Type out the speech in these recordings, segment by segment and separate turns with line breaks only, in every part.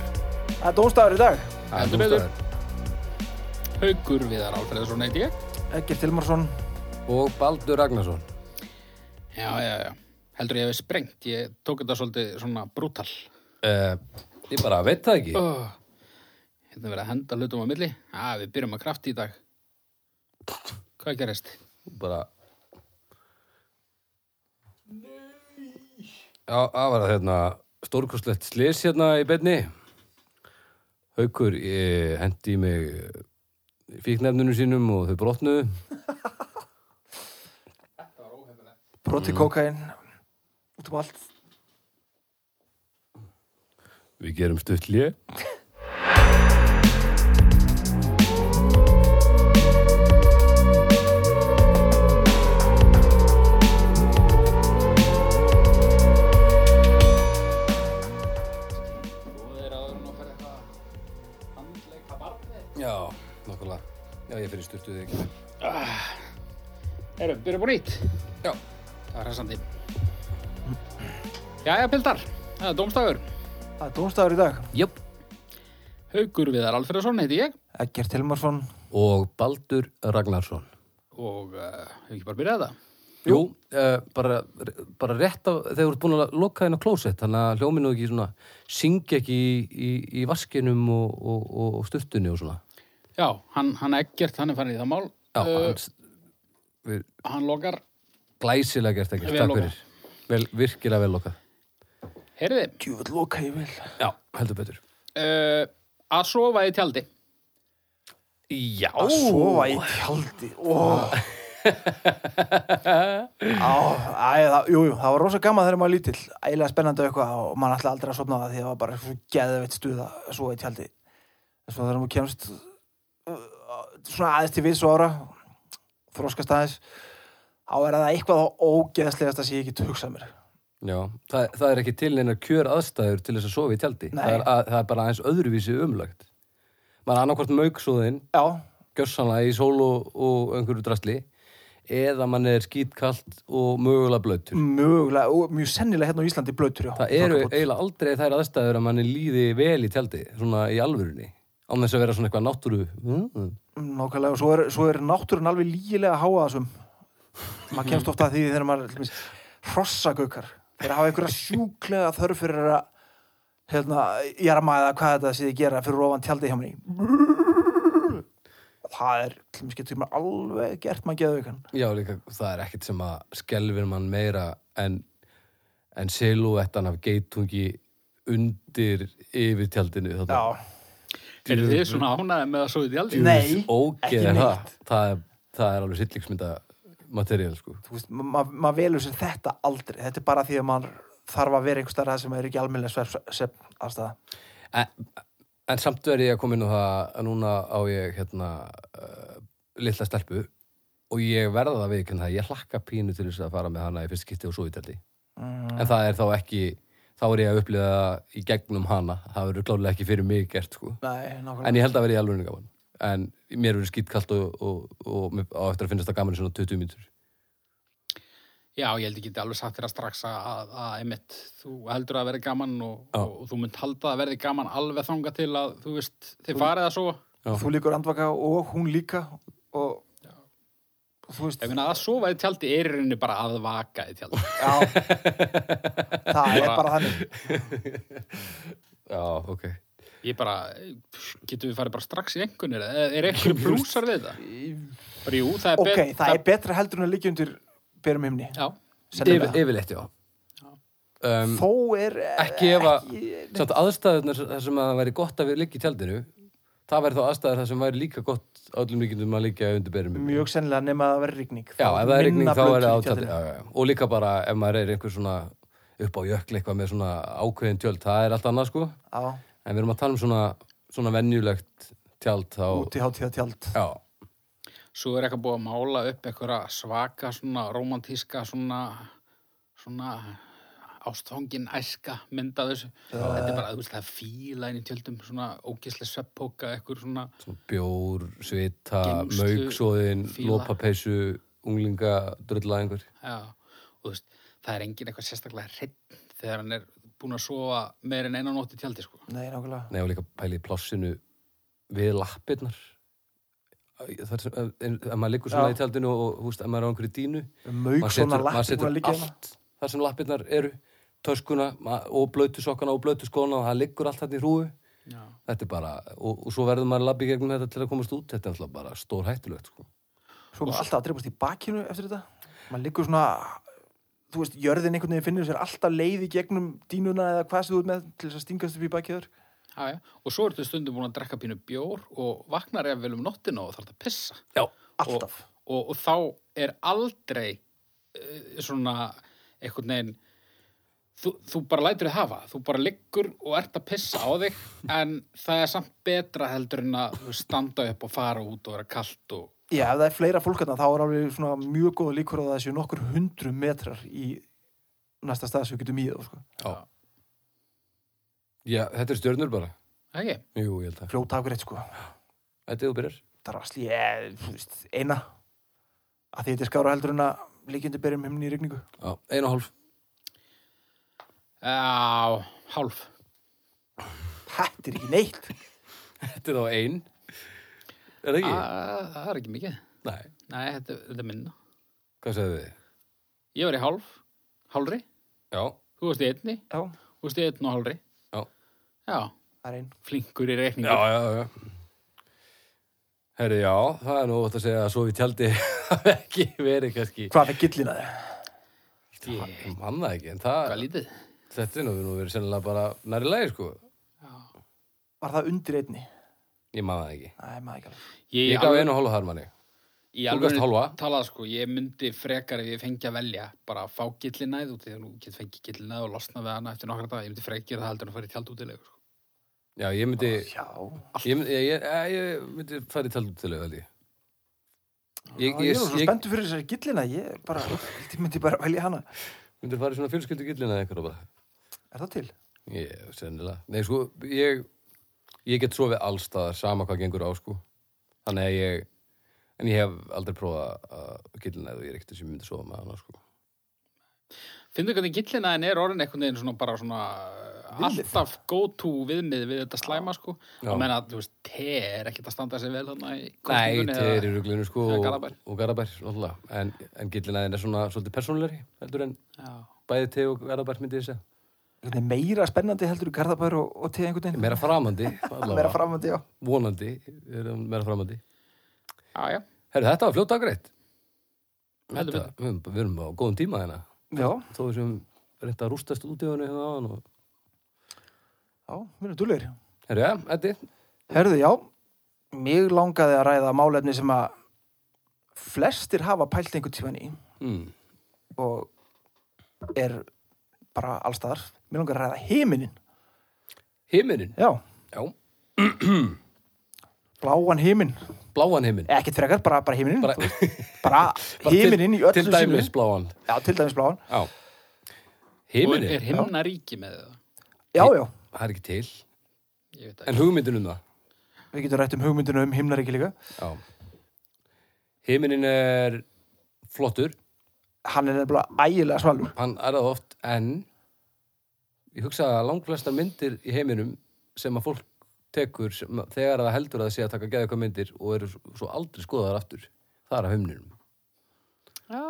Það er dómstafur í dag.
Heldur betur. Haugur Viðar Alfreðsson heiti ég.
Egger Tilmarsson.
Og Baldur Ragnarsson.
Já, já, já. Heldur ég hefði sprengt. Ég tók þetta svolítið svona brútal.
Uh, ég bara veit það ekki.
Oh. Hérna verið að henda hlutum á milli. Já, við byrjum að krafti í dag. Hvað gerist?
Bara... Já, það var að hérna stórkostlegt slis hérna í beinni. Haukur eh, hendi í mig fíknefnunum sínum og þau brotnuðu.
Broti kókain. Út um allt.
Við gerum stutt lið.
Þú er áður nú fyrir eitthvað handleika barnið.
Já, nokkulega. Já, ég fyrir stuttuð ekki.
Erum, byrjum búin ítt.
Já.
Það er hressandi. Jæja, pildar. Það er dómstafur.
Það er dómstafur í dag.
Jöp.
Haugur Viðar Alfreðsson heiti ég.
Egger Tilmarsson.
Og Baldur Ragnarsson.
Og uh, hefur ekki bara byrjað það?
Jú, uh, bara, bara rétt af, þegar þú ert búin að loka hérna klósett, þannig að hljóminu ekki svona, syngja ekki í, í, í vaskinum og, og, og, og stuttunni og svona.
Já, hann, hann ekkert, hann er farin í það mál.
Já,
Uh,
hans, við,
hann lokar.
glæsilega gert ekki,
Vel
takk
lokað.
fyrir. Vel, virkilega vel lokað.
Herði,
Djúvöld loka ég vil.
Já, heldur betur.
uh, að sofa í tjaldi.
Já.
Að sofa í tjaldi. Ó. Á, æ, það, jú, jú, það var rosa gaman þegar maður lítill. Ægilega spennandi og eitthvað og maður ætlaði aldrei að sofna á það því það var bara svo geðveitt stuð að sofa í tjaldi. Þess vegna þegar maður kemst uh, svona aðeins til við svo ára, þróskast aðeins, þá er það eitthvað á ógeðslegast að sé ekki hugsað mér.
Já, það, það er ekki til neinar kjör aðstæður til þess að sofa í tjaldi.
Nei.
Það er, að, það er bara aðeins öðruvísi umlagt. Maður er annarkvort mauksóðinn
Já,
gjössanlega í sól og, og einhverju drastli eða mann er skýtkalt og mögulega blöytur.
mögulega og mjög sennilega hérna á Íslandi blöytur já.
Það eru
Þokkabót.
eiginlega aldrei þær aðstæður að manni líði vel í tjaldi, svona í alvörunni án þess að vera svona eitthvað náttúru mm,
Nákvæmlega, og svo er, svo er náttúrun alveg lígilega háa þessum maður kemst ofta að því þegar maður til dæmis, hrossagaukar, þeir hafa einhverja sjúklega þörf fyrir að hérna, jarma eða hvað þetta séði gera fyrir ofan tjaldi hjá mér það er, til dæmis getur maður alveg gert maður geðaukan
Já, líka, það er ekkert sem að skelfir mann meira en, en silúettan af geitungi undir yfir tjaldinu þetta.
Já,
Er þið svona ánæðið með að sofa í tjaldi?
nei, ekki
Ógeð er það.
neitt
Það er, það er alveg sillingsmynda materiál, sko.
þú veist, ma- ma- maður velur sér þetta aldrei þetta er bara því að maður þarf að vera einhver starf sem er ekki almennilega svefn svefn- aðstæða
En, en samt verði ég að koma inn á það að núna á ég hérna uh, litla stelpu og ég verða það við ekki það. Ég hlakka pínu til þess að fara með hana í fyrst kitti og svo í telti.
Mm.
En það er þá ekki, þá er ég að upplifa það í gegnum hana. Það verður klálega ekki fyrir mig gert sko.
Nei, nákvæmlega
En ég held að verði í alveg gaman. En mér verður skýtkalt og, og, og, mér á eftir að finnast það gaman í svona 20 mínútur.
Já, ég held ekki þetta alveg satt þér að strax að, að, að einmitt, þú heldur að verði gaman og,
Já.
og, þú mynd halda að verði gaman alveg þanga til að, þú veist, þið farið að sofa.
Já.
þú líkur andvaka og hún líka og þú veist
Ég meina að sofa í tjaldi er í rauninni bara að vaka í tjaldi.
já, það er
Bara-
bara þannig
Já, ok.
Ég bara, pff, getum við farið bara strax í engunir? Er eitthvað brúsar við það? Bara, jú, það er
ok, það er betra heldur en að líka undir berum himni
Já,
sennilega.
Yfir- Yfirleitt, já. Um,
þó er
ekki ef að samt aðstæðunar þar sem að það væri gott að við liggja í tjaldinu það væri þá aðstæður þar sem væri líka gott öllum líkindum að liggja undir berum himni.
mjög sennilega nema að það verði rigning
já, ef það er rigning þá er það á tjaldinu
já.
já, já, já. og líka bara ef maður er einhver svona upp á jökli eitthvað með svona ákveðin tjöld það er allt annað sko
Já,
en við erum að tala um svona, svona venjulegt tjald þá,
úti hátíða tjald
já,
svo er eitthvað búið að mála upp einhverja svaka svona romantíska svona, svona ástfangin æska mynd af þessu. Þetta er bara, þú veist, það er fíla inn í tjöldum, svona ógislega sveppóka, eitthvað svona,
svona bjór, svita
Geymslu,
mauksóðin,
fíla.
lópapeysu unglinga, drulla einhver
já, og þú veist, það er engin eitthvað sérstaklega hreitt þegar hann er búin að sofa meir en eina nótt í tjaldi, sko.
Nei, nákvæmlega.
Nei, og líka pæli í plássinu við lappirnar. Það er sem, ef- en- ef maður liggur svona
Já.
í tjaldinu og, og húst, ef maður er á einhverju dínu,
Maug Um svona
maður
lappir
setur
búin að liggja hérna.
allt þar sem lappirnar eru, töskuna ma- og blöytu sokkana og blöytu skóna og það liggur allt þarna í hrúu.
Já.
Þetta er bara, og, og svo verður maður að labba í gegnum þetta til að komast út, þetta er alltaf bara stór hættulegt, sko.
Svo er maður alltaf að dreipast í bakinu eftir þetta. Maður liggur svona, þú veist, jörðin einhvern veginn finnur sér alltaf leið í gegnum dínuna eða hvað sem þú ert með til þess að stingast upp í bakiður.
Já, já. Og svo ertu stundum búin að drekka pínu bjór og vaknar ef vel um nóttina og þarf að pissa.
Já,
Alltaf.
Og, og þá er aldrei uh, svona einhvern veginn þú, þú bara lætur þið hafa. Þú bara liggur og ert að pissa á þig en það er samt betra heldur en að þú standa upp og fara út og vera kalt og
Já, ef það er fleira fólk hérna, þá er alveg svona mjög góða líkur á að það séu nokkur hundru metrar í næsta stað sem við getum í þá, sko.
já. Já, þetta er stjörnur bara.
ekki.
Jú, ég held að.
Fljóta afgreitt, sko.
Þetta er þú byrjar.
Drasl, ég, eh, þú veist, eina. Að því þetta er skára heldur en að líkjandi berjum himni í rigningu.
Já, einu og hálf.
Já, hálf.
Þetta er ekki neitt.
Þetta er þá ein. Er það
Æ,
ekki?
Ah, það er ekki mikið.
Ah. Nei.
Nei, þetta, þetta er minna.
Hvað segðu þið?
Ég var í hálf, hálfri.
Já.
Þú varst í einni,
Já, það
þú varst í einn og hálfri.
Já.
Já,
er einn.
flinkur í reikningu.
Já, já, já. Herri, já, það er nú ótt að segja að svo við tjaldi hafi ekki verið kannski.
Hvað er gillina þig?
Ég,
Ég man það ekki, en það,
hvað lítið.
þetta er nú, nú verið sennilega bara næri lagi, sko.
Já.
Var það undir einni?
Ég man það ekki.
Næ, maður ekki alveg.
Ég,
Ég gaf einu og hálfa þar manni.
í
þú gafst
alveg
hálfa.
talað sko, ég myndi frekar ef ég fengi að velja, bara að fá gillinæð út þegar nú get fengi gillinæð og losna við hana eftir nokkra dag, ég myndi frekar það heldur en að fara í tjald útilegu. Sko.
Já, ég myndi,
Já,
ég myndi, ég, ég, ég myndi fara í tjaldi til auðvöldi. Ég,
Ég, ég,
ég,
er nú svo
ég
spenntur fyrir þessari gillina, ég er bara, ég myndi bara velja hana.
myndi fara í svona fjölskyldu gillina eitthvað bara.
Er það til?
Ég, sennilega. Nei, sko, ég, ég get sofið allstaðar sama hvað gengur á, sko. Þannig að ég, en ég hef aldrei prófað að gillina eða ég er ekkert sem ég myndi sofa með hana, sko.
Finnðu hvernig gillinæðin er orðin einhvern veginn svona bara svona eh,
Viðmið.
alltaf go to viðmið við þetta slæma sko.
Já.
Að menna að, þú veist, te er ekkert að standa sig vel þarna í
Nei,
kosningunni
þetta
eða-
er í ruglunum, sko,
eða
og
Garðabær.
og Garabær, alltaf. En, en gillina er svona svolítið persónulegri, heldur en
Já.
bæði te og Garabær myndi ég segja.
Einhvern veginn meira spennandi heldur í Garðabær og, og til einhvern veginn.
Meira framandi, allavega.
Meira framandi, já.
Vonandi, er hún meira framandi.
Já, já.
Herru, þetta var fljóta greitt.
Heldur
Þetta, við erum- við erum á góðum tíma hérna.
Já,
Þó við sem reynda að rústast út í hennu hérna áðan og
já, við erum dúlegir.
Herru, ja, Eddi,
Herðu, já, mig langaði að ræða málefni sem að flestir hafa pælt einhvern tíman í
Hmm.
mm.
og er bara allstaðar. Mér langar að ræða heiminin,
himinin,
já,
já,
bláan heimin.
bláan himin.
Ekkert frekar, bara, bara heiminin.
Bara-
Bara, bara heiminin í
til,
öllu
til dæmis bláan.
Já, til dæmis bláan.
Já.
Og er
Himinin,
himna ríki með það?
Já, já,
það er ekki til,
Ég veit
en
ekki.
hugmyndin um það.
við getum rætt um hugmyndinu um himnaríki líka.
Já. Himinin er flottur,
hann er nefnilega ægilega svalur
hann er það oft, en ég hugsa að langflesta myndir í heiminum sem að fólk tekur sem, þegar það heldur að það sé að taka geða eitthvað myndir og eru svo aldrei skoðaðar aftur. Það er að himninum.
Já,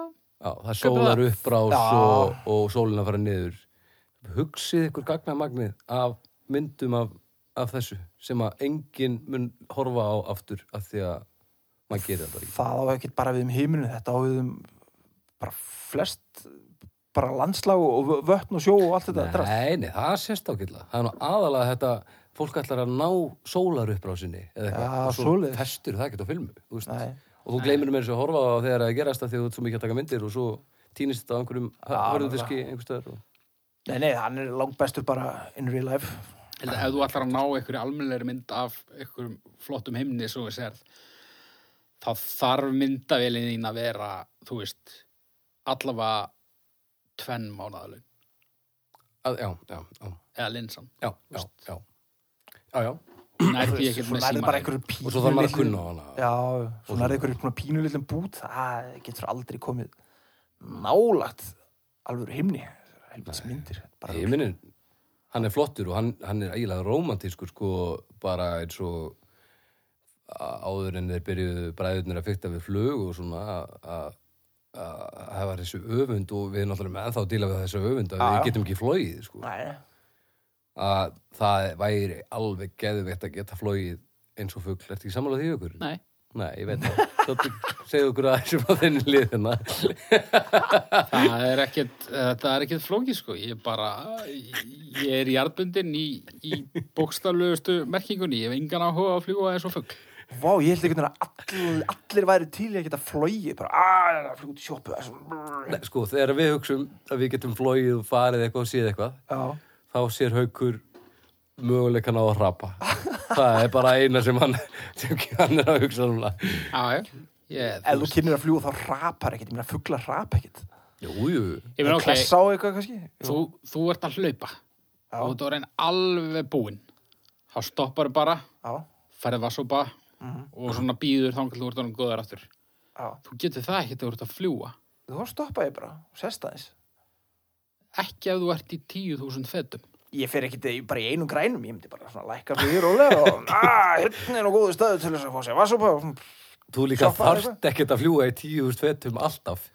Já, það er
Kaupir
sólar
það?
uppbrás
Já.
og, og sólin að fara niður. Hugsið ykkur gagnamagnið af myndum af, af þessu sem að enginn mun horfa á aftur af því að maður gerir það bara ekki.
það á ekkert bara við um heiminu þetta á við um bara flest bara landslag og vö- vötn og sjó og allt þetta drast.
Nei, nei, það sést ákveðlega. Það er nú aðalega þetta, fólk ætlar að ná sólar uppbrásinni eða eitthvað.
Já,
og svo
svoleiðis.
festur það ekkert á filmu. þú veist.
Nei.
Og þú gleymir mér þessu að horfa á það þegar það gerast það því að þú ert svo mikið að taka myndir og svo týnist þetta á einhverjum hörðundiski einhverstaðar. Og...
nei, nei, hann er langt bestur bara in real life
held að ef þú ætlar að ná einhverju almennlegri mynd af einhverjum flottum himni svo við serð, þá þarf myndavélinn þín að vera, þú veist, allavega tvenn mánaðalun,
Að, já, já, já,
eða linsan.
já, já, já. Já, já,
Nær því ekkert
svo
með
nærði bara
síma.
einhverju pínu
og svo þarf maður að kunna á hana
já, svo nærði einhverju svona pínu lillum bút það getur aldrei komið nálagt alveg himni helvits myndir bara
heiminin hann er flottur og hann, hann er eiginlega rómantískur sko bara eins og á- áður en þeir byrjuðu bræðurnir að fykta við flug og svona að- að að hafa þessu öfund og við náttúrulega með ennþá að díla við þessu öfund að
Já, já.
við getum ekki flóið sko.
Nei,
að það væri alveg geðveikt að geta flóið eins og fugl, ertu ekki sammála því okkur?
Nei,
Nei, ég veit það segðu okkur að þessu á hérna. þenni liðina
það er ekkit, þetta er ekkit flókið sko. Ég er bara, ég er jarðbundin í, í bókstaflegustu merkingunni. Ég hef engan áhuga á að fljúa eins og fugg.
vá, ég held ekki að all, allir væri til í að geta flóið bara, "Ah, að, flug út í sjoppu það er svo-
Nei, sko, þegar við hugsum að við getum flóið og farið eitthvað og séð eitthvað
Já,
þá sér haukur möguleikan á að hrapa það er bara eina sem hann sem hann er að hugsa núna
Já, já. Ég,
ef þú kynir að fljúa þá rapar ekkit, ég meina fugla rap ekkit
Jú, jú,
ég meina, ok,
klessa á eitthvað kannski
þú, þú ert að hlaupa
Já.
og þú er einn alveg búinn þá stoppar bara,
Já,
færði vassopa og svona býður þangar þú ert orðin góðar aftur
já,
þú getur það ekki þegar þú ert að fljúa
þú þá stoppa ég bara og sest aðeins
ekki ef þú ert í 10.000 fetum
ég fer ekki til, bara í einum grænum ég myndi bara svona lækka fyrir rólega og að, hérna er nú góðu stöðu til þess að fá sér vassopa og svona,
þú líka
Sjoppa
þarft ekkert að fljúa í tíu fetum alltaf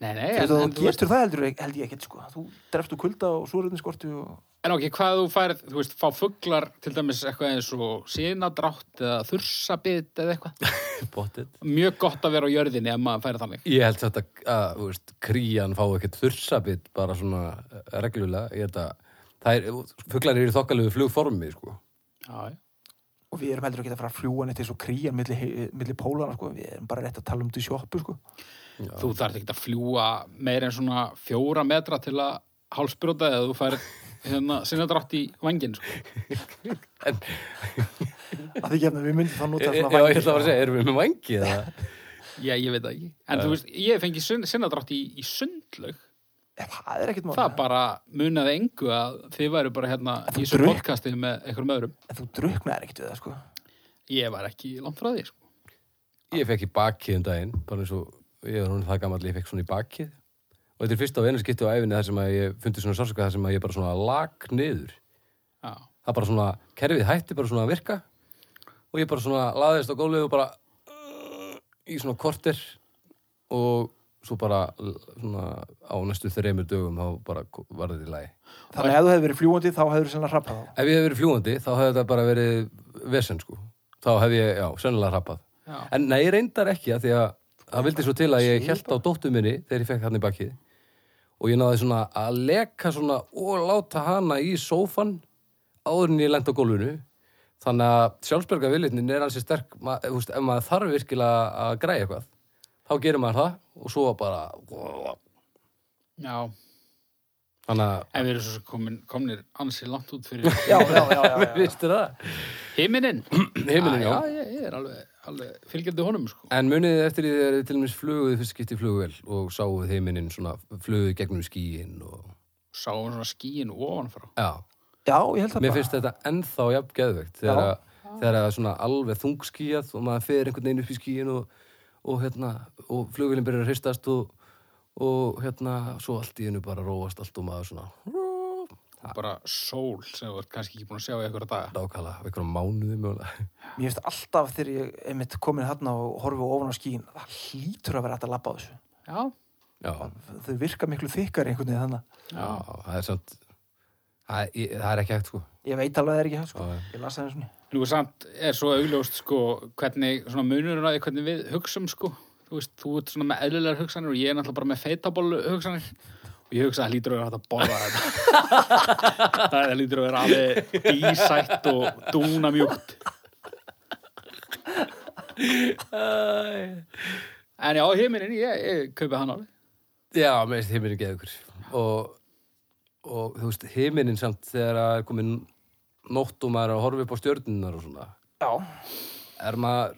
nei, nei, en,
þú veit að
en,
þú getur það heldur, held ég ekkert sko þú drefst úr kulda og súröfniskortu og
en ok, hvað ef þú færð þú veist, fá fuglar til dæmis eitthvað eins og sinadrátt eða þursabit eða eitthvað
Pottet.
mjög gott að vera á jörðinni ef maður færði þannig
ég held þetta að, þú veist, krían fá ekkert þursabit bara svona eh, reglulega ég held að það er, fuglar eru í þokkalegu flugformi sko.
já, já.
og við erum heldur ekki að fara að fljúa neitt eins og krían milli, he- milli pólana sko, við erum bara rétt að tala um til sjoppu sko.
þú þarf ekki að fljúa meira en svona fjóra metra til að hálsbrota eða þú færð hérna, sinadrátt í vangin sko.
en,
að því gefnum við myndum þá
já,
nota
ég
svona
ætla bara að
vængi,
segja, erum við með vangi eða?
Já, ég veit það ekki. En þú veist, ég fengi sinnadrátt í, í sundlaug.
sko. það er ekkert
Það
mál
bara munaði engu að þið væru bara hérna í
þú
þessu
drukk-
podcasti með einhverjum öðrum.
en þú druknaðir ekkert við það sko.
Ég var ekki langt frá því, sko.
Ég fekk í bakið um daginn, bara eins og ég er hún það gamall, ég fekk svona í bakið og þetta er fyrsta og einu skipti á æfinni þar sem að ég fundi svona sársöka þar sem að ég bara svona lag niður.
Já.
Það bara svona, kerfið hætti bara svona að virka og ég bara svona laðist á gólfið og bara uh, í svona korter og svo bara l- svona á næstu þreymur dögum þá bara ko- var þetta í lagi.
þannig að ef þú hefði verið fljúandi þá hefur þú sennilega rappað þá
Ef ég hefði verið fljúandi þá hefði þetta bara verið vesen sko. Þá hefði ég, já, sennilega rappað.
Já.
En nei, ég reyndar ekki að því að það vildi svo til að ég held á dóttu minni þegar ég fekk hann í bakið og ég náði svona að leka svona og láta hana í sófan áður en ég lent á gólfinu þannig að sjálfsberga viljetnin er hansi sterk ma, eh, þú veist, ef maður þarf virkilega að græja eitthvað þá gerir maður það og svo bara
Já.
þannig að
En við erum svo sem komin, komnir ansi langt út fyrir
já, já, já, já, já, já.
Vistu það?
heiminin.
Heimilin, já.
Já, ég, ég er alveg, alveg fylgjandi honum, sko.
En munið þið eftir því þegar þið til og meins fluguðu fyrst skipti í flugvél og sáuð heiminin svona fluguðu gegnum skíin og...
Sáum svona skíinu ofan frá.
Já.
já, ég held það
Mér
bara
finnst þetta ennþá jafn geðveikt þegar, að, þegar að það er svona alveg þungskíjað og maður fer einhvern veginn upp í skíin og, og, hérna, og flugvélinn byrjar að hristast og, og hérna, svo allt í einu bara róast allt og maður svona
Bara sól sem þú ert kannski ekki búin að sjá í einhverja daga.
dákala, einhverjum mánuði mjögulega.
mér finnst alltaf þegar ég einmitt komin þarna og horfi ofan á skíin það hlýtur að vera hægt að lappa á þessu
Já.
Já,
þau virka miklu þykkar einhvern veginn þannig
já, það er samt, það, er- ég, það er ekki hægt sko.
ég veit alveg að það er ekki hægt sko.
Já, já.
ég las það eins og ný
Nú samt er svo augljóst sko hvernig svona munurinn á því hvernig við hugsum sko. Þú veist, þú ert svona með eðlilegar hugsanir og ég er náttúrulega bara með feitabólu hugsanir og ég hugsa að það lítur að vera hægt að borða þetta. það lítur að vera alveg ísætt og dúnamjúkt. En já, heiminin, ég, ég kaupi hann alveg.
Já, mér finnst heiminin geðveikur og, og þú veist, heiminin samt þegar að er komin nótt og maður er að horfa upp á stjörnunar og svona
já,
er maður,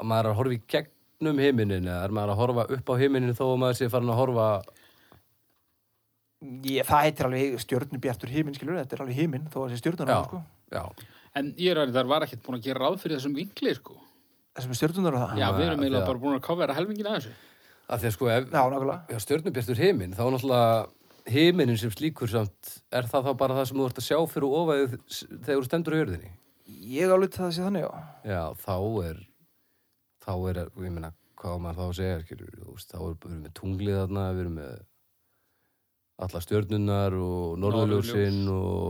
að maður er að horfa í gegnum heiminin eða er maður að horfa upp á heiminin þó að maður sé farin að horfa
ég, það heitir alveg stjörnubjartur himinn skilur, þetta er alveg himinn þó að þessi stjörnunar
já,
sko.
já,
En ég er að það var ekkert búin að gera ráð fyrir þessum vingli sko.
þessum stjörnunar og það
Já, við
Nei,
erum eiginlega
já.
bara búin að kofera helmingin að þessu.
að því að sko ef,
já, nákvæmlega
já, stjörnubjartur heimin þá náttúrulega himinin sem slíkur samt, er það þá bara það sem þú ert að sjá fyrir ofaðið þegar þú stendur á jörðinni?
Ég álít það sé þannig, já.
Já, þá er, þá er, ég meina, hvað á maður þá að segja, skilur, þú veist, þá er, við erum með tunglið þarna, við erum með alla stjörnunar og norðurljósin og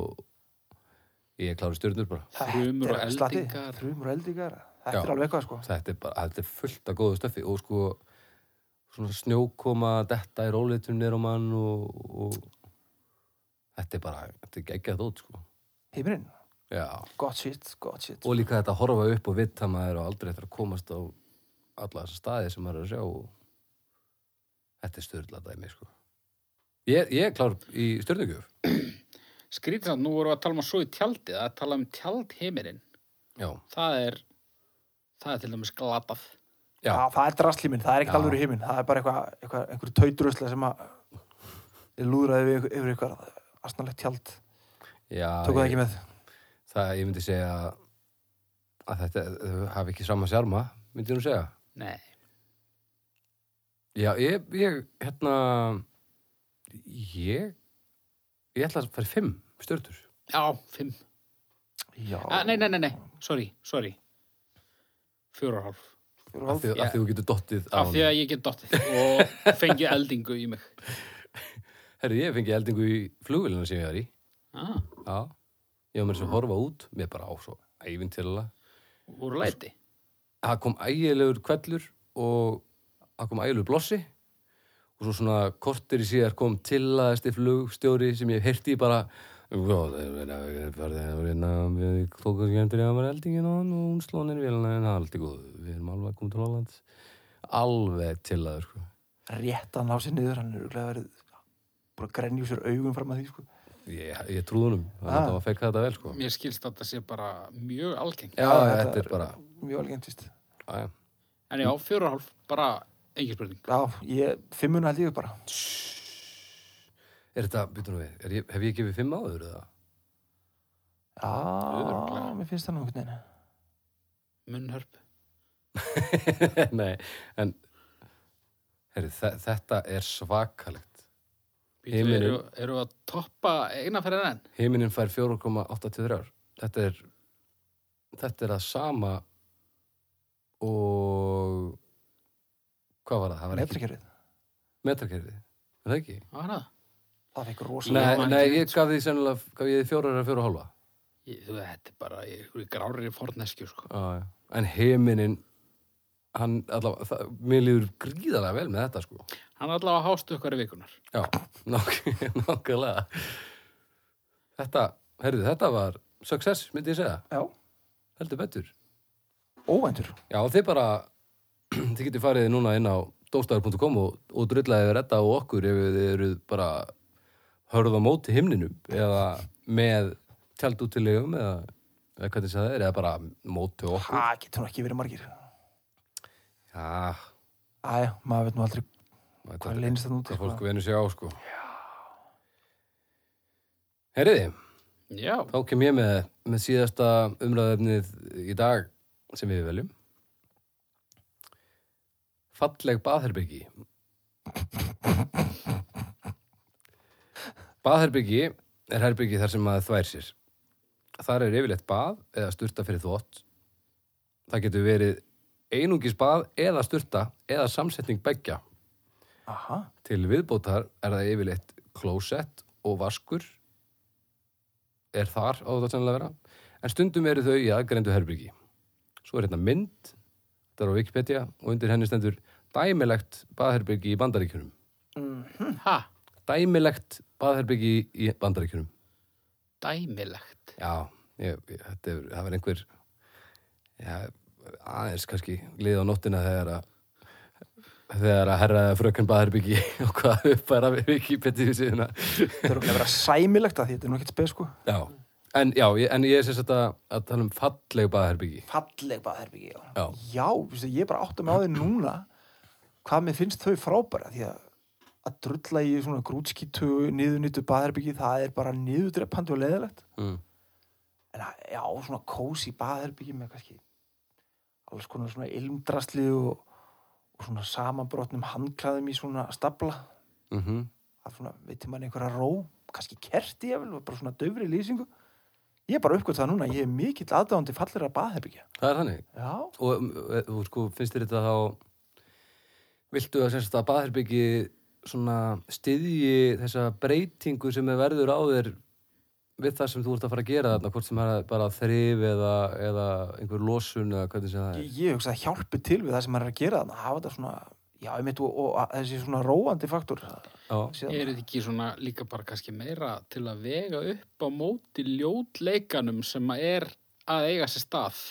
ég er klári stjörnur bara.
Þrumur og
Þetta er slatti.
eldingar.
Þrumur og eldingar. Þetta
Já.
er alveg eitthvað, sko.
Þetta er bara, þetta er fullt af góðu stöfi og sko, svona snjókoma, detta í rólitum nýr á mann og, og þetta er bara, þetta er geggjað þótt, sko.
Himurinn.
Já.
Gott shit, gott shit.
og líka þetta að horfa upp og vita að maður og aldrei eftir að komast á alla þessa staði sem maður er að sjá og þetta er styrla dæmi sko. ég, ég er klár í styrnugjöf
Skrítið samt, nú vorum við að tala um að svo í tjaldið, að tala um tjald heiminin.
já,
Það er, það er til dæmis glatað.
já,
Já, það er drastlíminn, það er ekkert
Já.
alveg himinn. Það er bara eitthvað, eitthvað einhver tautrusla sem að er lúðraði við yfir eitthvað asnalegt tjald.
já
Tóku það
ég,
ekki með.
það, ég myndi segja að þetta þau hafi ekki sama sjarma myndi ég nú segja
Nei.
já, ég, ég hérna ég ég ætla að fara í fimm styrtur
Já, fimm.
Já.
Ah, nei, nei, nei, nei, sorry, sorry. Fjóra og hálf.
Fjóra og
af
hálf.
því, af því þú getur dottið á
Af því
honum.
að ég get dottið og fengi eldingu í mig.
herri, ég fengi eldingu í flugvélina sem ég var í
Ah,
Já, ég var með þess að horfa út mér bara á svo ævintýrlega
úr læti.
það kom ægilegur kvellur og það kom ægilegur blossi og svo svona kortir í síðar kom tillaðasti flugstjóri sem ég heyrti í bara "Já, það er verið að- verið að- verið að- við tókum skemmtir í að vera eldingin og hún slónir vélina en það er allt í góðu við erum alveg að koma til Holland alveg tillaður sko.
Rétt að ná sér niður, hann er auðvitað verið bara að grenja úr sér augum fram að því, sko.
ég, ég trúðunum þannig
Ah.
að það var fekk þetta vel sko.
Mér skilst að þetta sé bara mjög algengt.
Já,
já, þetta
þetta
er bara
Mjög algengt, víst.
aðja
En já, fjóra og hálf, bara engin spurning.
Já, ég, fimmuna held ég bara.
Er þetta, býtum við, er ég, hef ég gefið fimm áður eða?
Já,
Örugglega.
mér finnst það nú einhvern veginn.
Munnhörp.
Nei, en heri, þetta er svakalegt.
Bíddu,
Himinin.
Eru, eru að toppa eina fyrir enn?
Himinin fær 4,83 ár. Þetta er þetta er að sama og hvað var það? Það var ekki
Metrakerfið.
metrakerfið. Er það ekki?
Á hana?
Það fikk rosalega.
Nei,
var
nei,
ekki
ég gaf því sennilega, gaf ég því fjórar að fjóra og hálfa.
Ég, þú veit, þetta er bara í einhverju grárri forneskju, sko.
Já, já. En himinin hann, allavega, það, mér líður gríðarlega vel með þetta, sko.
Hann er allavega hástu okkar í vikunar.
Já, nák- nákvæmlega Þetta, herðu, þetta var success, myndi ég segja,
Já,
heldur betur
óvæntur.
Já, og þið bara, þið getið farið núna inn á domstafur.com og, og drullaðið redda og okkur ef þið eru bara hörð á móti himninum eða með tjald út til legum eða, eða hvernig sem það er, eða bara móti okkur
Það getur nú ekki verið margir.
Já,
Æja, maður veit nú aldrei
þetta
hvað leynist það
er fólk
núti.
venur sig á, sko Já Herriði,
Já,
Þá kem ég með, með síðasta umræðefnið í dag sem við veljum. Falleg baðherbyggi. Baðherbyggi er herbyggi þar sem maður þvær sér. Þar er yfirleitt bað eða sturta fyrir þvott. Það getur verið einungis bað eða sturta eða samsetning beggja.
Aha,
Til viðbótar er það yfirleitt klósett og vaskur er þar á þetta sennilega að vera en stundum eru þau í aðgrendu herbyggi. Svo er hérna mynd þetta er á Wikipedia og undir henni stendur dæmilegt baðherbyggi í bandaríkjunum.
Mhm.
ha,
Dæmilegt baðherbyggi í bandaríkjunum.
dæmilegt.
Já, ég, ég, þetta er, það var einhver já, aðeins kannski lið á nóttina þegar að þegar að herra eða frökun baðherbyggi og hvað uppfæra Wikipedia síðuna.
þetta er okkur að vera sæmilegt að því, þetta er nú ekkert spes sko.
Já, en, já, ég- en ég er sérst að, að tala um falleg baðherbyggi.
Falleg baðherbyggi, já.
Já.
Já, veistu, ég bara átta mig á því núna hvað mér finnst þau frábæra því að að drulla í svona grútskítu niðurnýttu baðherbyggi, það er bara niðurdreppandi og leðilegt.
Mm.
En að- já, svona kósi baðherbyggi með kannski alls konar svona ilmdrasli og, og svona samanbrotnum handklæðum í svona stapla.
Mm -hmm.
að svona veitir mann einhverja ró kannski kerti ég vel, bara svona döfri lýsingu ég er bara uppgöð það núna ég er mikill aðdáðandi fallera baðherbyggja
það er þannig
já,
og um, e- þú sko, finnst þér þetta þá viltu að semst að baðherbyggi svona styðji þessa breytingu sem er verður á þér við það sem þú ert að fara að gera þarna hvort sem það er bara þrif eða, eða einhver losun eða hvernig sem það er
ég, ég hugsa að hjálpi til við það sem maður er að gera þannig hafa þetta svona já, ég og, og að þessi svona róandi faktor
já,
Síðan-
Er þetta ekki svona líka bara kannski meira til að vega upp á móti ljótleikanum sem að er að eiga sér stað?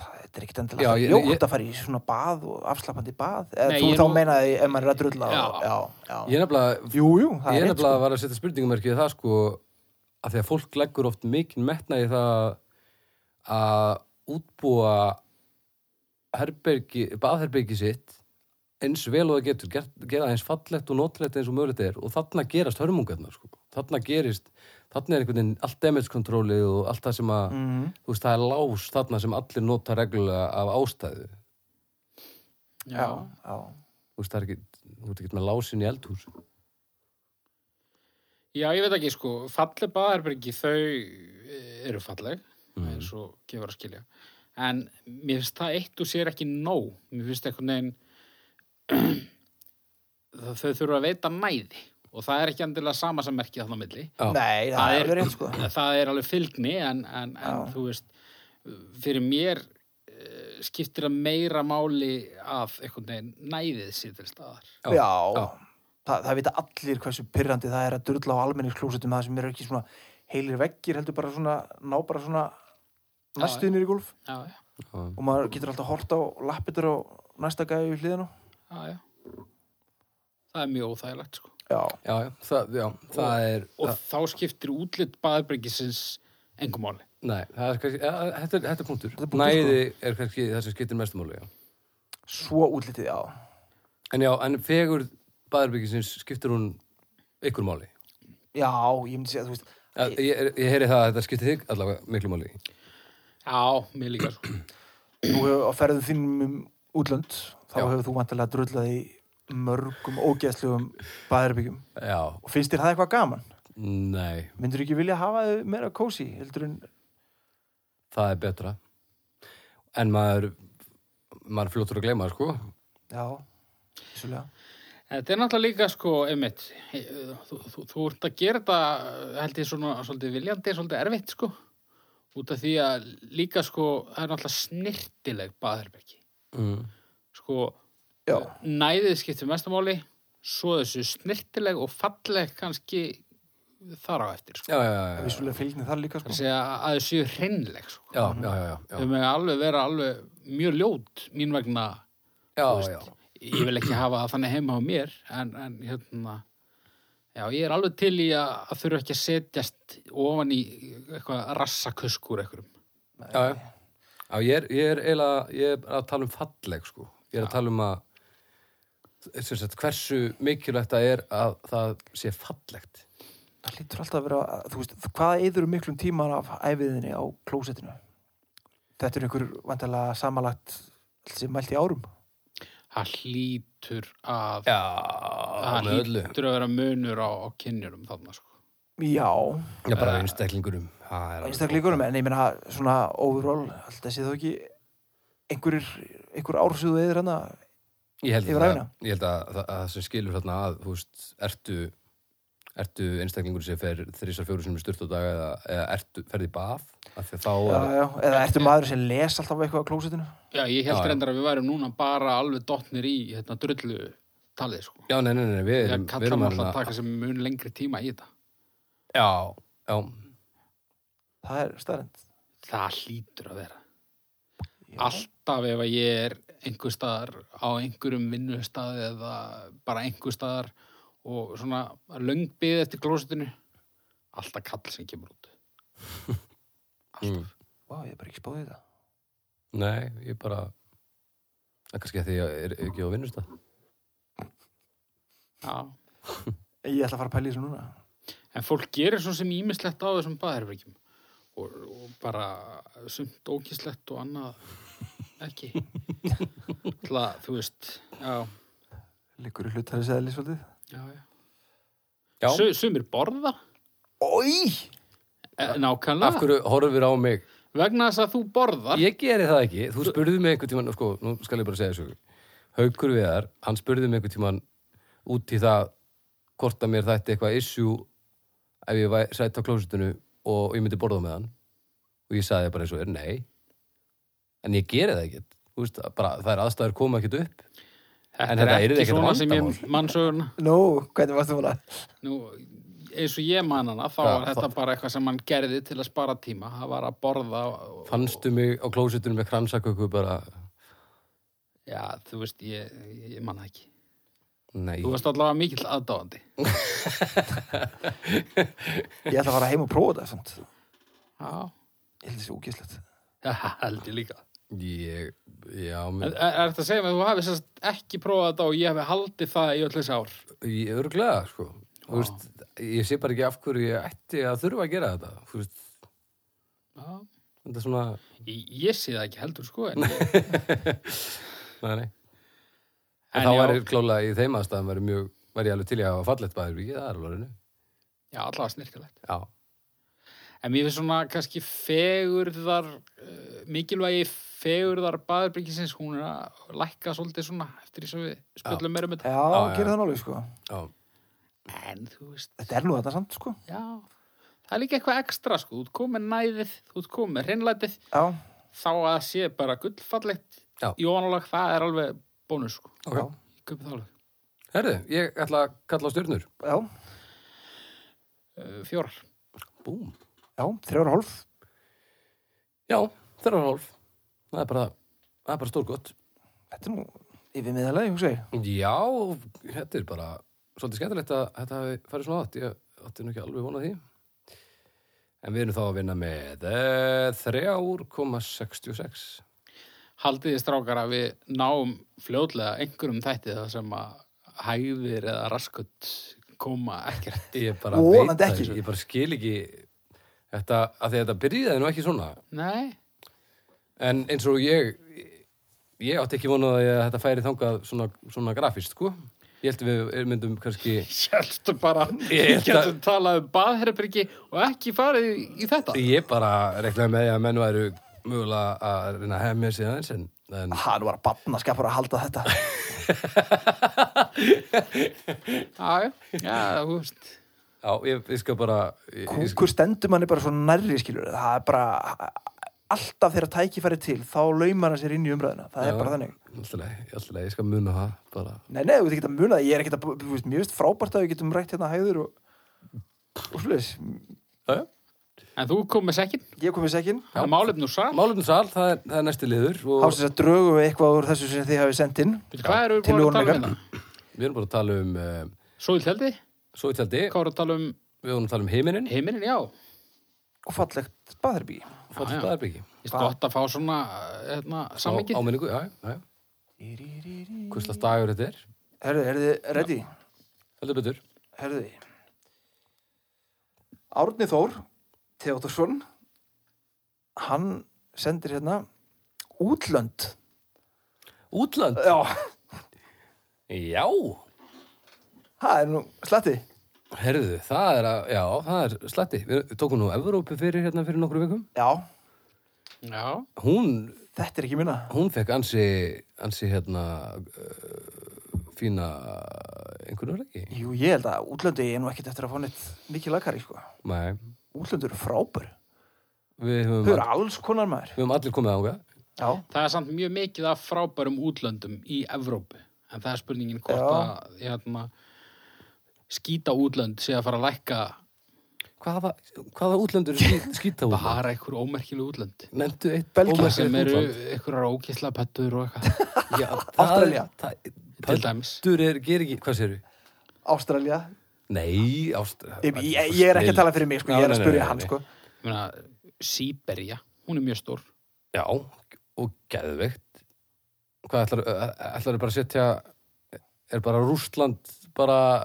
það þetta er ekkert
Já,
endilega
ég-
já, ljótt
ég-
að fara í svona bað og afslapandi bað eða
Nei,
þú
ég
þá
nú-
meinaði ef maður er að drulla
Já.
og, já, já.
ég er nefnilega
jú, jú, það
ég er
er
nefnilega
sko.
að vera að setja spurningumerkið það sko að því að fólk leggur oft mikinn metna í það að útbúa herbergi, baðherbergi sitt eins vel og það getur gert, gera það eins fallegt og notlegt eins og mögulegt er og þarna gerast hörmungarnar sko. þarna gerist, þarna er einhvern veginn allt damage controlið og allt það sem að
Mhm.
þú veist það er lás þarna sem allir nota reglulega af ástæðu þú
já, já,
veist það er ekki, þú veist ekki með lásin í eldhús
Já, ég veit ekki, sko, falleg baðherbergi, þau eru falleg, eins og gefur að skilja. En mér finnst það eitt og sér ekki nóg. Mér finnst einhvern veginn, þau þau þurfa að veita næði og það er ekki endilega sama sem merkið þarna á milli.
Já.
nei, það er verið sko.
það er alveg fylgni en, en, en
Já.
þú veist fyrir mér eh, skiptir það meira máli af einhvern veginn næðið sér til staðar
Já.
já, Það, það vita allir hversu pyrrandi það er að drulla á almenningsklósetum það sem eru ekki svona heilir veggir heldur bara svona, ná bara svona
Já,
næstuðinir í gólf
já, já,
Já.
og maður getur alltaf hort á lappitur á næsta gæði við hliðinu
já, já. það er mjög óþægilegt sko.
já,
Já, já, það, já, það er
og þá skiptir útlitt baðbyrgisins engum máli
Nei, það er kannski, ja, þetta, er, þetta er punktur. sko.
er punktur,
Næði er kannski það sem skiptir mestumáli, já.
svo útlitið, já
En já, en fegur baðarbyggisins skiptir hún ykkur máli.
já, ég myndi segja, þú veist
Ja, Ég, ég heyri það að þetta skiptir þig allavega miklu máli.
já, mér líka sko.
Nú hefur á ferðum þínum um útlönd þá
Já.
hefur þú vantilega drullað í mörgum ógeðslegum baðherbyggjum
Já,
og finnst þér það eitthvað gaman?
nei,
Myndur ekki vilja hafa þau meira kósi heldur en
það er betra. En maður, maður er fljótur að gleyma, það, sko.
já, vissulega
þetta er náttúrulega líka sko, einmitt eh, þú, þú, þú ert að gera þetta eh, held ég svona svolítið viljandi svolítið erfitt sko út af því að líka sko það er náttúrulega snirtileg baðherbyrgi
Mm.
sko
já,
næðið skiptir mestumáli svo þessu snirtileg og falleg kannski þar á eftir sko.
Já, já, já, já,
vissulega fylgni þar líka sko.
Þessi að, að þau séu hreinleg sko.
já, já, já, já,
þau með alveg vera alveg mjög ljót mín vegna
já, já.
ég vil ekki hafa það þannig heima á mér en, en hérna já, ég er alveg til í að, að þurfa ekki að setjast ofan í eitthvað rassakuskur ekkurum
já, já. já ég, er, ég, er eiginlega, ég er að tala um falleg sko. ég er að tala um að sem sagt, hversu mikilvægt það er að það sé fallegt
það hlýtur alltaf að vera, þú veist, hvað eður miklum tíman af æfiðinni á klósettinu þetta er einhver vantilega samalagt sem mælt í árum
það hlýtur að
já,
það
með öllu
hlýtur að vera munur á, á kynjurum þarna sko
já,
já, bara einstaklingurum
einstaklingunum en ég meina svona overall alltaf sé þó ekki einhverjir einhver hérna? ársöðu eður hana
ég held,
Yfir
að,
ævina.
ég held að, að, að það sem skilur þarna að þú veist, ertu ertu einstaklingur sem fer þrísar fjóru sem er sturt á dag eða, eða ertu, ferði í bað af því að þá
já, já, eða ertu maður sem les alltaf eitthvað á klósitinu
Já, ég held
Já, já.
reyndar að við værum núna bara alveg dottnir í hérna drullu talið, sko.
já, nei, nei, nei, við
Ég
erum, við
kallar
erum
maður alltaf
hérna-
að taka sem mun lengri tíma í þetta.
já, já,
það er staðrend
Það hlýtur að vera.
Já.
Alltaf ef að ég er einhver staðar á einhverjum vinnustað eða bara einhver staðar og svona löngbið eftir klósitinu, alltaf kall sem kemur út.
mm.
Vá, ég er bara ekki spáðið það
Nei, ég bara Það er kannski að því ég er ekki á vinnust
Já.
ég ætla að fara að pæla í þessu núna
En fólk gerir svo sem ímislegt á þessum baðherbergjum og, og bara sumt ókislegt og annað ekki. Það, þú veist, já,
liggur í hlut þar að segja lýsvöldið
já, já.
Já,
Su, sumir borða
Ói!
eh,
af
nákvæmlega,
hverju horfir á mig?
vegna þess að þú borðar
Ég geri það ekki. Þú spurði mig einhvern tíman, sko, nú skal ég bara segja þessu. Haukur Viðar, hann spurði mig einhvern tíman út í það hvort að mér þætti eitthvað issue ef ég væ- sæti á klósitinu og ég myndi borða með hann. Og ég sagði bara eins og er, nei. En ég geri það ekki. Þú veist, bara þær aðstæður koma ekkert upp. en þetta
er
yrði
ekki
ekkert
svona sem ég
vandamál.
mannsöguna
Nú, hvernig varstu fóla?
Nú, eins og ég man hana, þá
Já,
var þetta bara eitthvað sem hann gerði til að spara tíma. Það var að borða og...
Fannstu mig á klósitinu með kransaköku bara,
Já, þú veist, ég, ég man það ekki.
nei.
Þú veist allavega mikill aðdáandi.
Ég ætla að fara heim og prófa þetta samt.
Já,
Ég held þessi úkislegt.
held ég líka.
Ég, já,
Er,
mér,
er er þetta að segja mig að þú hafi sérst ekki prófað þetta og ég hef haldið það í öll þessi ár?
ég örglega, sko. Þú veist, ég sé bara ekki af hverju ég ætti að þurfa að gera þetta. Þú veist,
Já,
þetta er svona,
ég, ég sé það ekki heldur, sko. En, en,
nei, nei. En þá var ég klálega í þeim aðstæðum var, mjög, var ég alveg til í að hafa fallegt bæðurbyggi, það er alveg henni.
Já, allavega snirkilegt.
Já,
En mér finnst svona kannski fegurðar, uh, mikilvægi fegurðar baðurbyggisins, hún er að lækka svolítið svona eftir því sem við spjöldum meira um þetta.
Já,
já.
gerðu það nálega, sko.
já,
En þú veist,
Þetta er nú þetta samt, sko.
já, það er líka eitthvað ekstra sko, þú ert komið næðið, þú ert komið hreinlætið,
Já,
þá að það sé bara gullfallegt
Já.
í onalag, það er alveg bónus sko,
ok.
ég köpi það alveg.
Herðu, ég ætla að kalla á stjörnur.
já,
Uh, fjórar.
Búm.
já, þrjóra hálf.
Já, þrjá hálf. Það er bara, það er bara stórgott.
Þetta er nú yfirmiðalegi, hugsa ég.
Já, þetta er bara svolítið skemmtilegt að þetta hafi farið svona átt. Ég átti nú ekki alveg vonað því. En við erum þá að vinna með eh, 3,66.
Haldið þið strákar að við náum fljótlega einhverjum þætti það sem að hæðir eða raskut koma ekkert.
Ég bara
Vonandi
það
ekki.
ekki. Ég bara skil ekki þetta, að því að þetta byrjaði nú ekki svona.
Nei,
En eins og ég, ég átti ekki vonað að þetta færi þangað svona, svona grafist, sko. Ég held að við myndum kannski...
sjálfstu bara,
Ég
ég
held að-
getum talað um baðherrbyrgi og ekki farið í- í þetta.
Ég bara reklaði með því að menn væru mögulega að reyna að hefja mér sig aðeins en, en
Ha, nú var að banna skapur að halda þetta.
Já, já, já, þú veist.
Já, ég, ég skal bara ég, ég skal,
Kúkur stendur manni bara svo nærri, skilur. Það er bara alltaf þegar tækifæri til, þá laumar hann sér inn í umræðina. Það
Já.
er bara þannig.
alltaf leið, alltaf leið, ég skal muna það bara.
Nei, nei, þú veit ekki að muna það, ég er ekki að, þú veist, mér veist frábært að við getum rætt hérna hæður og, og sluðis,
Já, já.
En þú kom með sekkin,
ég kom í sekkin,
það er málefn úr sal.
Málefnum sal, það er, það er næsti liður og
hásins að drögu við eitthvað úr þessu sem þið hafið sendt inn.
Býttu, Hvað erum við búin að tala um
Tillögur ykkar.
hérna?
við erum bara að tala um uh,
Sóltjaldi,
svo í tjaldi,
hvað voru að tala um
við erum að tala um heiminin
heiminin, já.
Og fallegt baðherbyggi.
fóttu
já.
staðarbyggi
Ég er gott að fá svona hérna, sammengið.
áminningu, já, já, já, hversla dagur þetta er
Herðu, herðu, ready,
heldur betur,
herðu. Árni Þór, Theodorsson, hann sendir hérna útlönd.
útland
Já,
já,
það er nú slatti.
herðu, það er að já, það er slatti, við við tókum nú Evrópu fyrir hérna fyrir nokkru vikum,
Já,
Já,
hún
þetta er ekki minna.
hún fekk ansi ansi hérna uh, fína einhvernur ekki,
Jú, ég held að útlöndu ég er nú ekkert eftir að fá neitt mikið lagari, sko.
nei
Útlöndur eru frábær.
við höfum
Þau eru alls konar maður.
Við höfum allir komið ánga.
Já.
það er samt mjög mikið af frábærum útlöndum í Evrópu. En það er spurningin hvort
Já.
að hérna, skýta útlönd sé að fara að lækka
Hvaða, hvaða útlöndur er skýt, skýta útlönd?
bara einhver ómerkileg útlönd.
Nefndu eitt
Belgía.
ómerkilegt
sem eru
útland.
einhverjar ókisla pöttur og eitthvað,
Já, það er-
Ástralía.
það-
til dæmis.
Pöldur er, ger ekki, hvað séru?
Ástralja.
Nei, ástralja.
Ég, ég, ég er ekki að tala fyrir mig, sko. Ég er að spyrja hann, sko.
Ég meina, Sýberja, hún er mjög stór.
Já, og geðveikt. um- Hvað ætlar, ætlar bara að setja, er bara Rústland bara,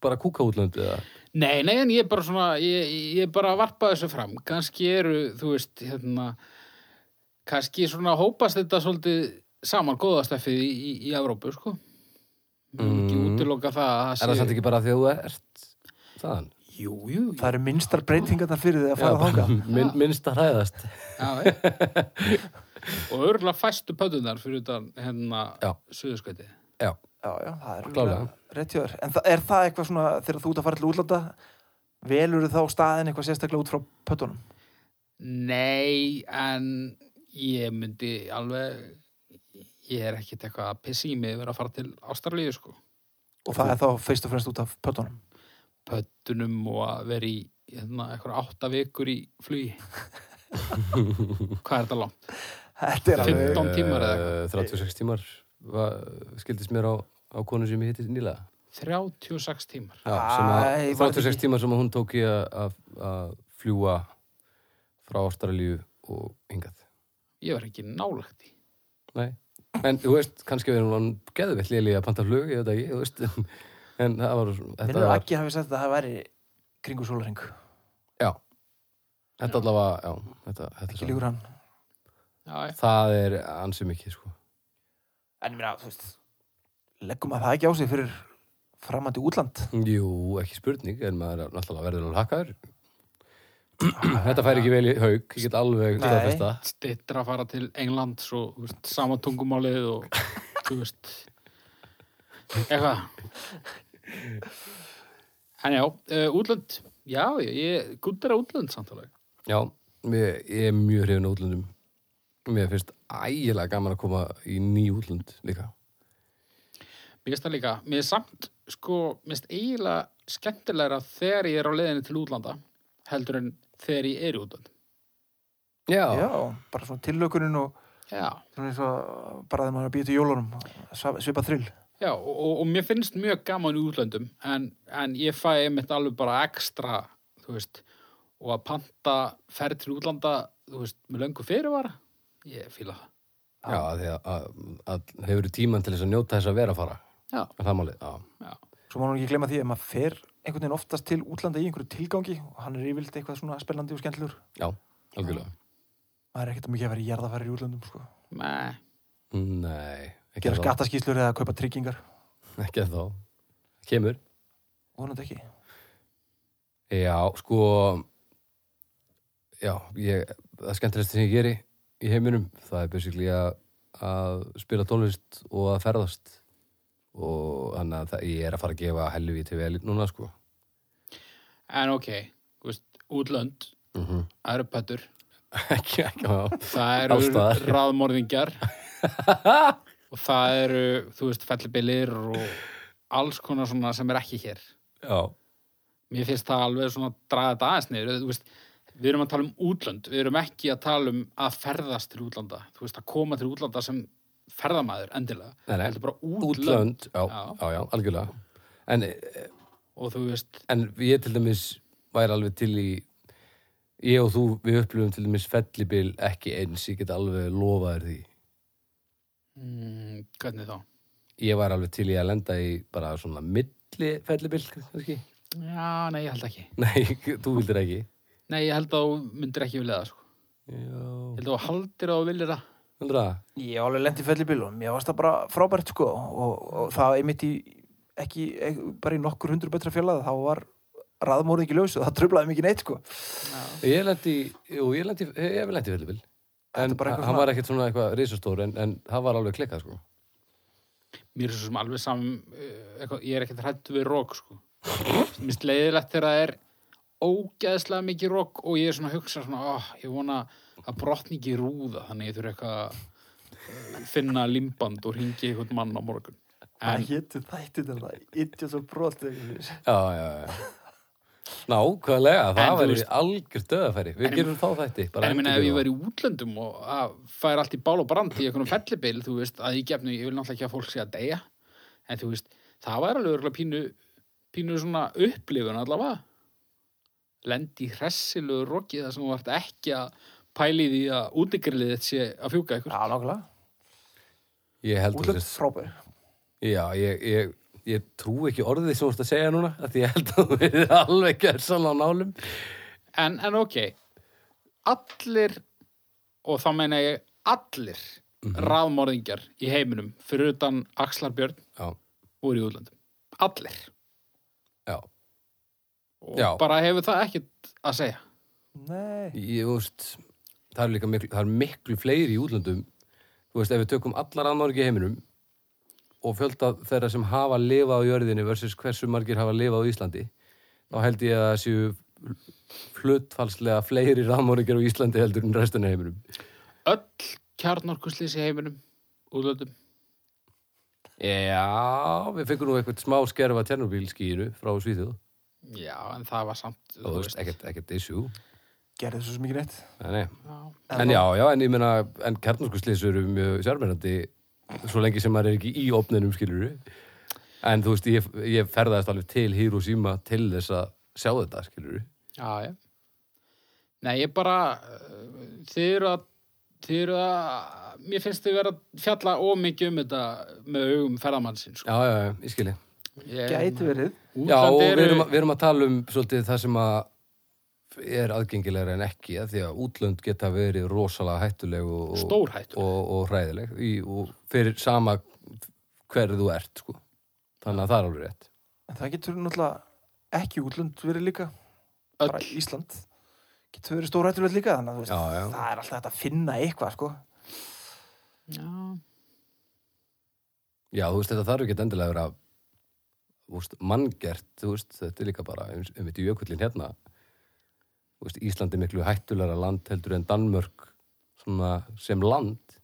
bara kúkaútlönd eða?
Nei, nei, en ég er bara svona, ég, ég er bara að varpa þessu fram. Kannski eru, þú veist, hérna, kannski svona hópast þetta svolítið saman góðastæfið í, í, í Evrópu, sko. Mm. Ekki
Mm.
útiloka það að
Er það samt ekki bara því að þú ert þaðan?
Jú, jú, jú.
Það eru minnstar breytingar þar fyrir því að fara
bara-
þangað.
Minn, minnst að hræðast.
Já, já. og örgulega fæstu pötunar fyrir utan hérna
Já.
suðurskvæti.
Já,
Já, já, það er
Klárlega.
rétt hjá þér. En það, er það eitthvað svona, þegar þú ert að fara til útlanda, velur þá staðin eitthvað sérstaklega út frá pötunum?
Nei, en ég myndi alveg, ég er ekkit eitthvað að pissi í mig yfir að fara til Ástralíu, sko.
Og það er þá fyrst og fremst út af pötunum.
Pötunum og að vera í hérna, eitthvað átta vikur í flugi. Hvað er þetta langt?
Þetta er alveg...
15 tímar eða eitthvað?
Eh, 36 tímar va- skildist mér á, á konu sem ég hitti nýlega.
36 tímar.
Já, sem
Æ,
að,
var þetta
36
ekki-
tímar sem að hún tók í að- að að fljúa frá Ástralíu og hingað.
Ég var ekki nálægt í.
Nei, en þú veist, kannski verður hún geðvill léli að panta flug, ég veit ekki, þú veist. En það var, þetta
Minnur
var,
ekki hafi sagt að það væri kringu sólaring.
já, þetta allavega, já, þetta, þetta
Ekki
er svo.
líkur hann.
Já, já.
Það er ansi mikið, sko.
En ég meina, þú veist, leggum að það ekki á sig fyrir framandi útland.
Jú, ekki spurning, en maður er náttúrulega verður alveg hakkaður. Þetta fær ekki vel í haug, ég get alveg
Nei.
staðfesta.
stittra að fara til England svo þú veist, sama tungumálið og þú veist eitthvað en já, uh, útlönd já, ég gúttir að útlönd samtalið
Já, mér, ég er mjög hrifin á útlöndum. Mér finnst ægilega gaman að koma í ný útlönd líka.
mér finnst það líka, mér er samt sko, mér finnst eiginlega skemmtilegra þegar ég er á leiðinni til útlanda heldur en þegar ég er í útlönd
Já,
Já, bara svona tillökunin og
já,
svona eins og bara þegar maður er að býja til jólunum, sva- svipað þrill.
já og, og, og mér finnst mjög gaman í útlöndum en, en ég fæ einmitt alveg bara ekstra þú veist og að panta ferð til útlanda þú veist, með löngu fyrirvara ég fíla það
já af því að, að, að hefur tíman til þess að njóta þess að vera að fara.
Já,
Er Það málið, já.
já,
Svo má nú ekki glemma því að maður fer einhvern veginn oftast til útlanda í einhverju tilgangi og hann er yfirlt eitthvað svona spennandi og skemmtilegur.
Já, algjörlega.
Maður er ekkert mikið að vera í jarðafæri í útlandum, sko.
með
Nei, ekki
Gera
enn þá.
skattaskýslur eða kaupa tryggingar.
Ekki enn þá. Kemur.
Vonandi ekki.
Já, sko, já, ég, það skemmtilegst sem ég geri í heiminum, það er basically að, að spila tónlist og að ferðast og þannig að það, ég er að fara að gefa helvi til vel núna, sko.
En ok, þú veist, útlönd
Mm
Það eru pöttur
ekki, ekki, já.
Það eru
Alls staðar.
ráðmorðingjar Og það eru, þú veist, fellibillir og alls konar svona sem er ekki hér
Já,
Mér finnst það alveg svona að draga þetta aðeins niður Þú veist, við erum að tala um útlönd Við erum ekki að tala um að ferðast til útlanda Þú veist, að koma til útlanda sem ferðamaður endilega
Nei, nei.
Þetta er bara útlönd,
útlönd, já, já,
Já.
já, algjörlega. En, eh,
Og þú veist,
en ég til dæmis væri alveg til í, ég og þú, við upplifum til dæmis fellibil ekki eins, ég get alveg lofaður því.
mm, hvernig þá?
ég var alveg til í að lenda í bara svona milli fellibill, kannski.
Já, nei, ég held ekki
Nei, þú vildir ekki.
Nei, ég held að þú myndir ekki vilja það, sko.
Já.
Ég held að þú haldir að þú vilja það.
Heldur það?
Ég hef alveg lendi fellibílum, ég varst það bara frábært sko og, og það einmitt í ekki, ekki, bara í nokkur hundur betra fjallaði þá var raðmórið ekki ljós og það tröflaði mikið neitt sko
Ég lendi, jú, ég lendi, ég hef lendi fellibill. En
er bara eitthvað
hann
svona-
var ekkert svona eitthvað risastór, en, en hann var alveg klikkað, sko.
Mér er svo sem alveg saman, uh, eitthvað, ég er ekkert hrættu við rók, sko. Mér finnst leiðilegt þegar það er ógeðslega mikið rók og ég er svona að hugsa svona, oh, ég vona að brotni ekki rúða, þannig ég þurfi eitthvað að eh, finna limband og ringi einhvern mann á morgun. En
Það hétu þætti þetta, ytja svo brot Já,
Já, já, já. Nákvæmlega,
En
það
þú
væri
veist-
algjör döðafæri. Við gerum þá þætti.
En ég meina ef ég
endilega.
væri í útlöndum og að fær allt í bál og brand í einhvern fellibil, þú veist, að ég gefnu, ég vil náttúrulega ekki að fólk sé að deyja, en þú veist, það væri alveg örugglega pínu, pínu svona upplifun allavega. Lendi í hressilegu rokið þar sem þú vart ekki að pæli því að útigrillið þitt sé að fjúka ykkur.
nákvæmlega,
Ég held að
útlönd frábær
Já, ég, ég, ég trú ekki orðið sem þú ert að segja núna, af því ég held að þú verið alveg gerðsanlega nálum.
En, en ok, allir, og þá meina ég allir mm í heiminum fyrir utan Axlar Björn
Já,
voru í útlöndum. allir
já.
og
Já.
bara hefur það ekkert að segja
Nei.
Ég veist, það er líka miklu, það er miklu fleiri í útlöndum. Þú veist, ef við tökum allar annarki í heiminum og fjölda þeirra sem hafa lifað á jörðinni versus hversu margir hafa lifað á Íslandi, þá held ég að það séu flutfalslega fleiri rannmorgir á Íslandi heldur en restunni heiminum.
öll kjarnorkuslýs í heiminum útlöndum
Já, við fengum nú eitthvað smá skerf að Tjernobílskíinu frá Svíþjóð.
já, en það var samt
Það veist, ekkert, ekkert issue.
Gerði þessu sem ekki neitt.
Nei, nei.
já,
En já, já, en ég meina, en kjarnarskuslýs eru mjög sérmennandi svo lengi sem maður er ekki í opninum, skilur En þú veist, ég, ég ferðaðist alveg til Hiroshima til þess að sjá þetta, skilur
já, já. nei, ég bara uh, þið eru að þið eru að mér finnst þið vera að fjalla ómikið um þetta með augum ferðamannsinn sko.
Já, já, já, ég skilji.
Gæti verið.
Já, og
útlönd eru
við erum, að- við erum að tala um svolítið það sem að er aðgengilegra en ekki, að því að útlönd geta verið rosalega hættuleg og, og-
stórhættu
og, og hræðileg í, og fyrir sama hver þú ert, sko. Þannig að það er alveg rétt.
En það getur náttúrulega ekki útlönd verið líka. Bara
öll,
Ísland. Getur verið stórættulegt líka. Þannig að þú veist,
Já, já.
það er alltaf hægt að finna eitthvað, sko.
já,
Já, þú veist, þetta þarf ekki endilega að vera þú veist, manngert, þú veist, þetta er líka bara um, um þetta jökullin hérna þú veist, Ísland er miklu hættulega land heldur en Danmörk svona, sem land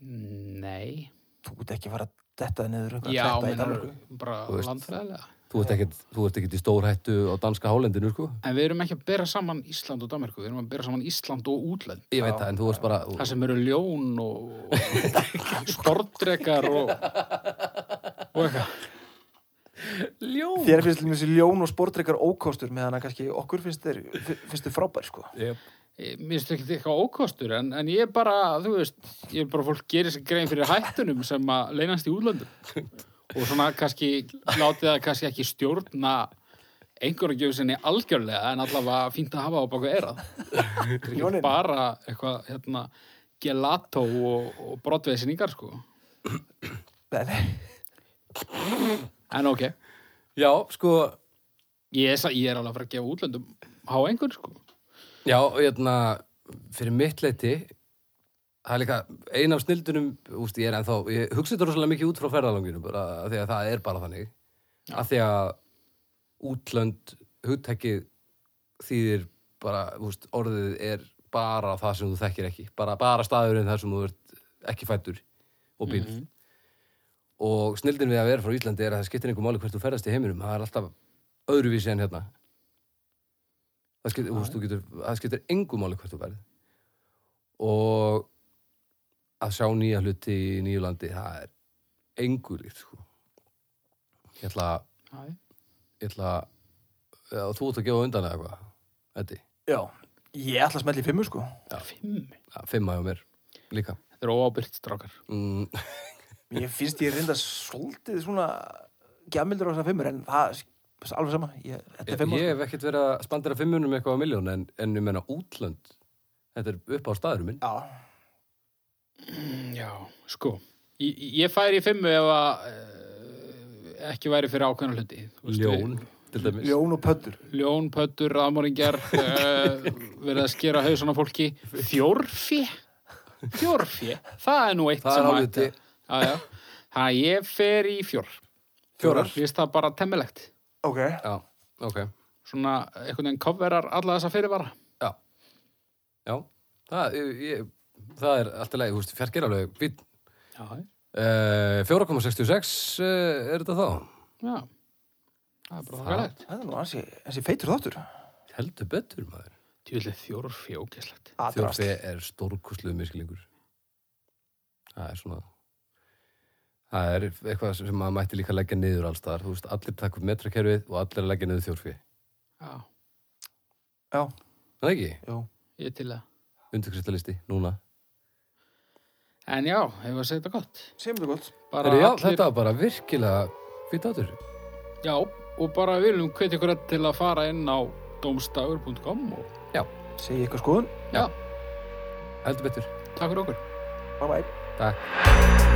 nei
Þú ert ekki að fara að detta niður eitthvað
já,
kletta í
menn
Danmarku.
bara
Þú veist.
landfræðilega
þú ert ekkit, þú ert ekkit í stór hættu á danska hálendinu, sko
En við erum ekki að bera saman Ísland og Danmarku, við erum að bera saman Ísland og útlönd.
ég veit það, en þú veist bara
Það sem eru ljón og stordrekar og, og eitthvað.
ljó
Þér finnst þessi ljón og sportreikar ókostur meðan að kannski okkur finnst þeir, finnst þeir frábær, sko.
yep.
Ég- Mér finnst ekki eitthvað ókostur, en, en ég er bara, þú veist, ég er bara að fólk gerir sér grein fyrir hættunum sem að leynast í útlöndum. Og svona kannski, látið það kannski ekki stjórna einhverjum gjöf sinni algjörlega, en allavega fínt að hafa á baku erað. Þetta er
Ljónin.
ekki bara eitthvað, hérna, gelato og, og brotveisinningar, sko.
Nei, nei.
En ok.
já, sko,
Ég er, sa- ég er alveg að fara að gefa útlöndum á einhvern, sko.
já, hérna fyrir mitt leiti það er líka ein af snildunum úst, ég er ennþá, ég hugsa þetta rosalega mikið út frá ferðalanginu bara, af því að það er bara þannig af því að útlönd hugtækið þýðir bara, úst, orðið er bara það sem þú þekkir ekki bara, bara staðurinn þar sem þú ert ekki fættur og býrð og snildin við að vera frá Íslandi er að það skiptir einhver máli hvert þú ferðast í heiminum það er alltaf öðruvísi en hérna það skiptir, úst, getur, það skiptir einhver máli hvert þú verð og að sjá nýja hluti í nýju landi það er engu líkt sko. ég ætla að ég ætla að Já, þú ert að gefa á undan eða eitthvað Eddi,
Já, ég ætla að smelli í fimmu, sko.
Fimm.
ja, fimma hjá mér líka
Þetta er óábyrgt strákar.
mm,
Ég finnst ég reynda svolítið svona gjamildur á þessar fimmur, en það er alveg sama. Ég, þetta er sko.
Ég
fimmu,
ég hef ekkert verið að spandera fimmunum eitthvað á miljón en, en ég menna útlönd Þetta er upp á staðurum minn
sko. Já,
Já, sko. Ég, ég færi í fimmu ef að eh, ekki væri fyrir ákveðna hluti. Þú veist,
Ljón, til dæmis
ljón og pöddur.
við- Ljón, pöttur, aðmóringjar, uh, verið að skera hausana fólki. Fjórfi? Fjórfi? Það er nú eitt
Það er
sem að...
áliti.
Já, já. Það ég fer í fjór.
Fjórar.
Mér finnst það bara temmilegt.
Ok,
Já, ok
Svona einhvern veginn coverar alla þessa fyrirvara.
Já, Já. Það, ég, ég, það er alltaf leið, þú veist, fjarkir alveg fínn.
Já,
Eh, 4,66 eh, er þetta þá?
já. Það er bara þakkalegt.
það er nú ansi, ansi feitur þáttur.
Heldur betur, maður
Tjúlega fjórfi ógeðslegt.
Aðrast.
Þjórfi er stórkostluð misklingur. Það er svona... Það er eitthvað sem maður mætti líka leggja niður alls staðar. Þú veist, allir takk upp metrakerfið og allir að leggja niður þjórfi.
Já,
Já,
Það er ekki?
jú.
ég til það.
Undirkristalisti, núna.
En já, hefur að segja þetta gott.
Segjum þetta gott.
Bara
Heru, já, Þetta var bara virkilega fýtt átur.
Já, og bara við viljum hvetja ykkur öll til að fara inn á domstafur.com og
Segji eitthvað skoðun.
já,
Heldur betur.
takk fyrir okkur.
Bye bye.
Takk.